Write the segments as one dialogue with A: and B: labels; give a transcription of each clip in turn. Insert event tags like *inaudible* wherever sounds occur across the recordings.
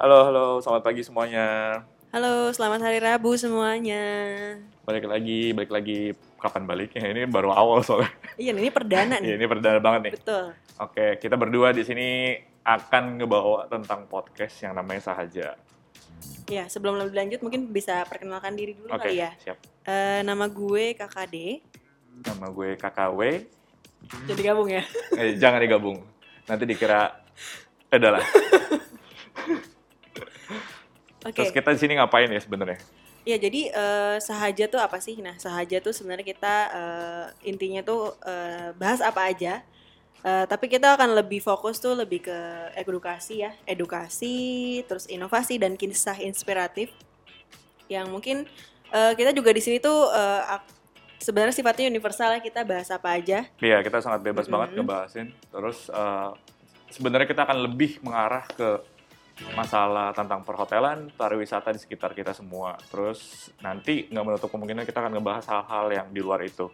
A: Halo, halo, selamat pagi semuanya.
B: Halo, selamat hari Rabu semuanya.
A: Balik lagi, balik lagi. Kapan baliknya? *laughs* Ini baru awal soalnya.
B: Iya, ini perdana
A: Iya,
B: nih.
A: ini perdana banget nih.
B: Betul.
A: Oke, kita berdua di sini akan ngebawa tentang podcast yang namanya Sahaja.
B: Ya, sebelum lebih lanjut mungkin bisa perkenalkan diri dulu
A: Oke,
B: kali ya.
A: siap.
B: Eh, nama gue KKD.
A: Nama gue KKW.
B: Jadi gabung ya.
A: Eh, jangan digabung. Nanti dikira eh, adalah.
B: Oke.
A: Terus kita di sini ngapain ya sebenarnya?
B: Ya, jadi eh, sahaja tuh apa sih? Nah, sahaja tuh sebenarnya kita eh, intinya tuh eh, bahas apa aja. Eh, tapi kita akan lebih fokus tuh lebih ke edukasi ya, edukasi, terus inovasi dan kisah inspiratif yang mungkin eh, kita juga di sini tuh eh, ak- sebenarnya sifatnya universal ya kita bahas apa aja.
A: Iya, kita sangat bebas
B: Mhm.
A: banget ngebahasin. Terus eh, sebenarnya kita akan lebih mengarah ke masalah tentang perhotelan, pariwisata di sekitar kita semua. Terus nanti nggak menutup kemungkinan kita akan ngebahas hal-hal yang di luar itu.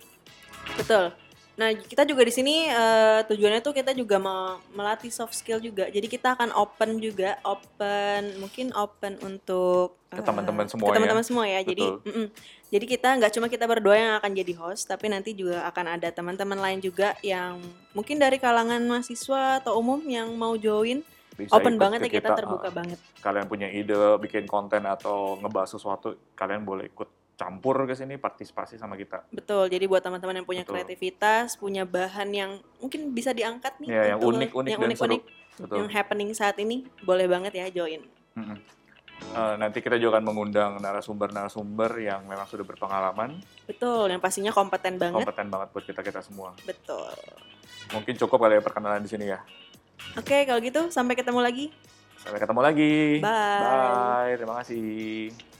B: Betul. Nah, kita juga di sini eh, tujuannya tuh kita juga me- melatih soft skill juga. Jadi kita akan open juga, open mungkin open untuk
A: Ke
B: eh,
A: teman-teman semua
B: ke
A: ya.
B: teman-teman semua ya. Jadi,
A: Betul.
B: mm-mm. jadi kita nggak cuma kita berdua yang akan jadi host, tapi nanti juga akan ada teman-teman lain juga yang mungkin dari kalangan mahasiswa atau umum yang mau join.
A: Bisa
B: open
A: ikut
B: banget
A: ke
B: ya kita, terbuka
A: Eh,
B: banget.
A: Kalian punya ide, bikin konten atau ngebahas sesuatu, kalian boleh ikut campur ke sini, partisipasi sama kita.
B: Betul. Jadi buat teman-teman yang punya
A: Betul.
B: kreativitas, punya bahan yang mungkin bisa diangkat nih
A: Ya, yang
B: untuk-
A: unik-unik
B: yang
A: dan
B: unik-unik,
A: seru. Betul.
B: yang happening saat ini, boleh banget ya join.
A: Mm-mm. Eh, nanti kita juga akan mengundang narasumber-narasumber yang memang sudah berpengalaman,
B: Betul, yang pastinya kompeten banget.
A: kompeten banget buat kita kita semua.
B: Betul.
A: Mungkin cukup kali ya perkenalan di sini ya.
B: Oke, kalau gitu sampai ketemu lagi.
A: Sampai ketemu lagi.
B: Bye.
A: Bye. Terima kasih.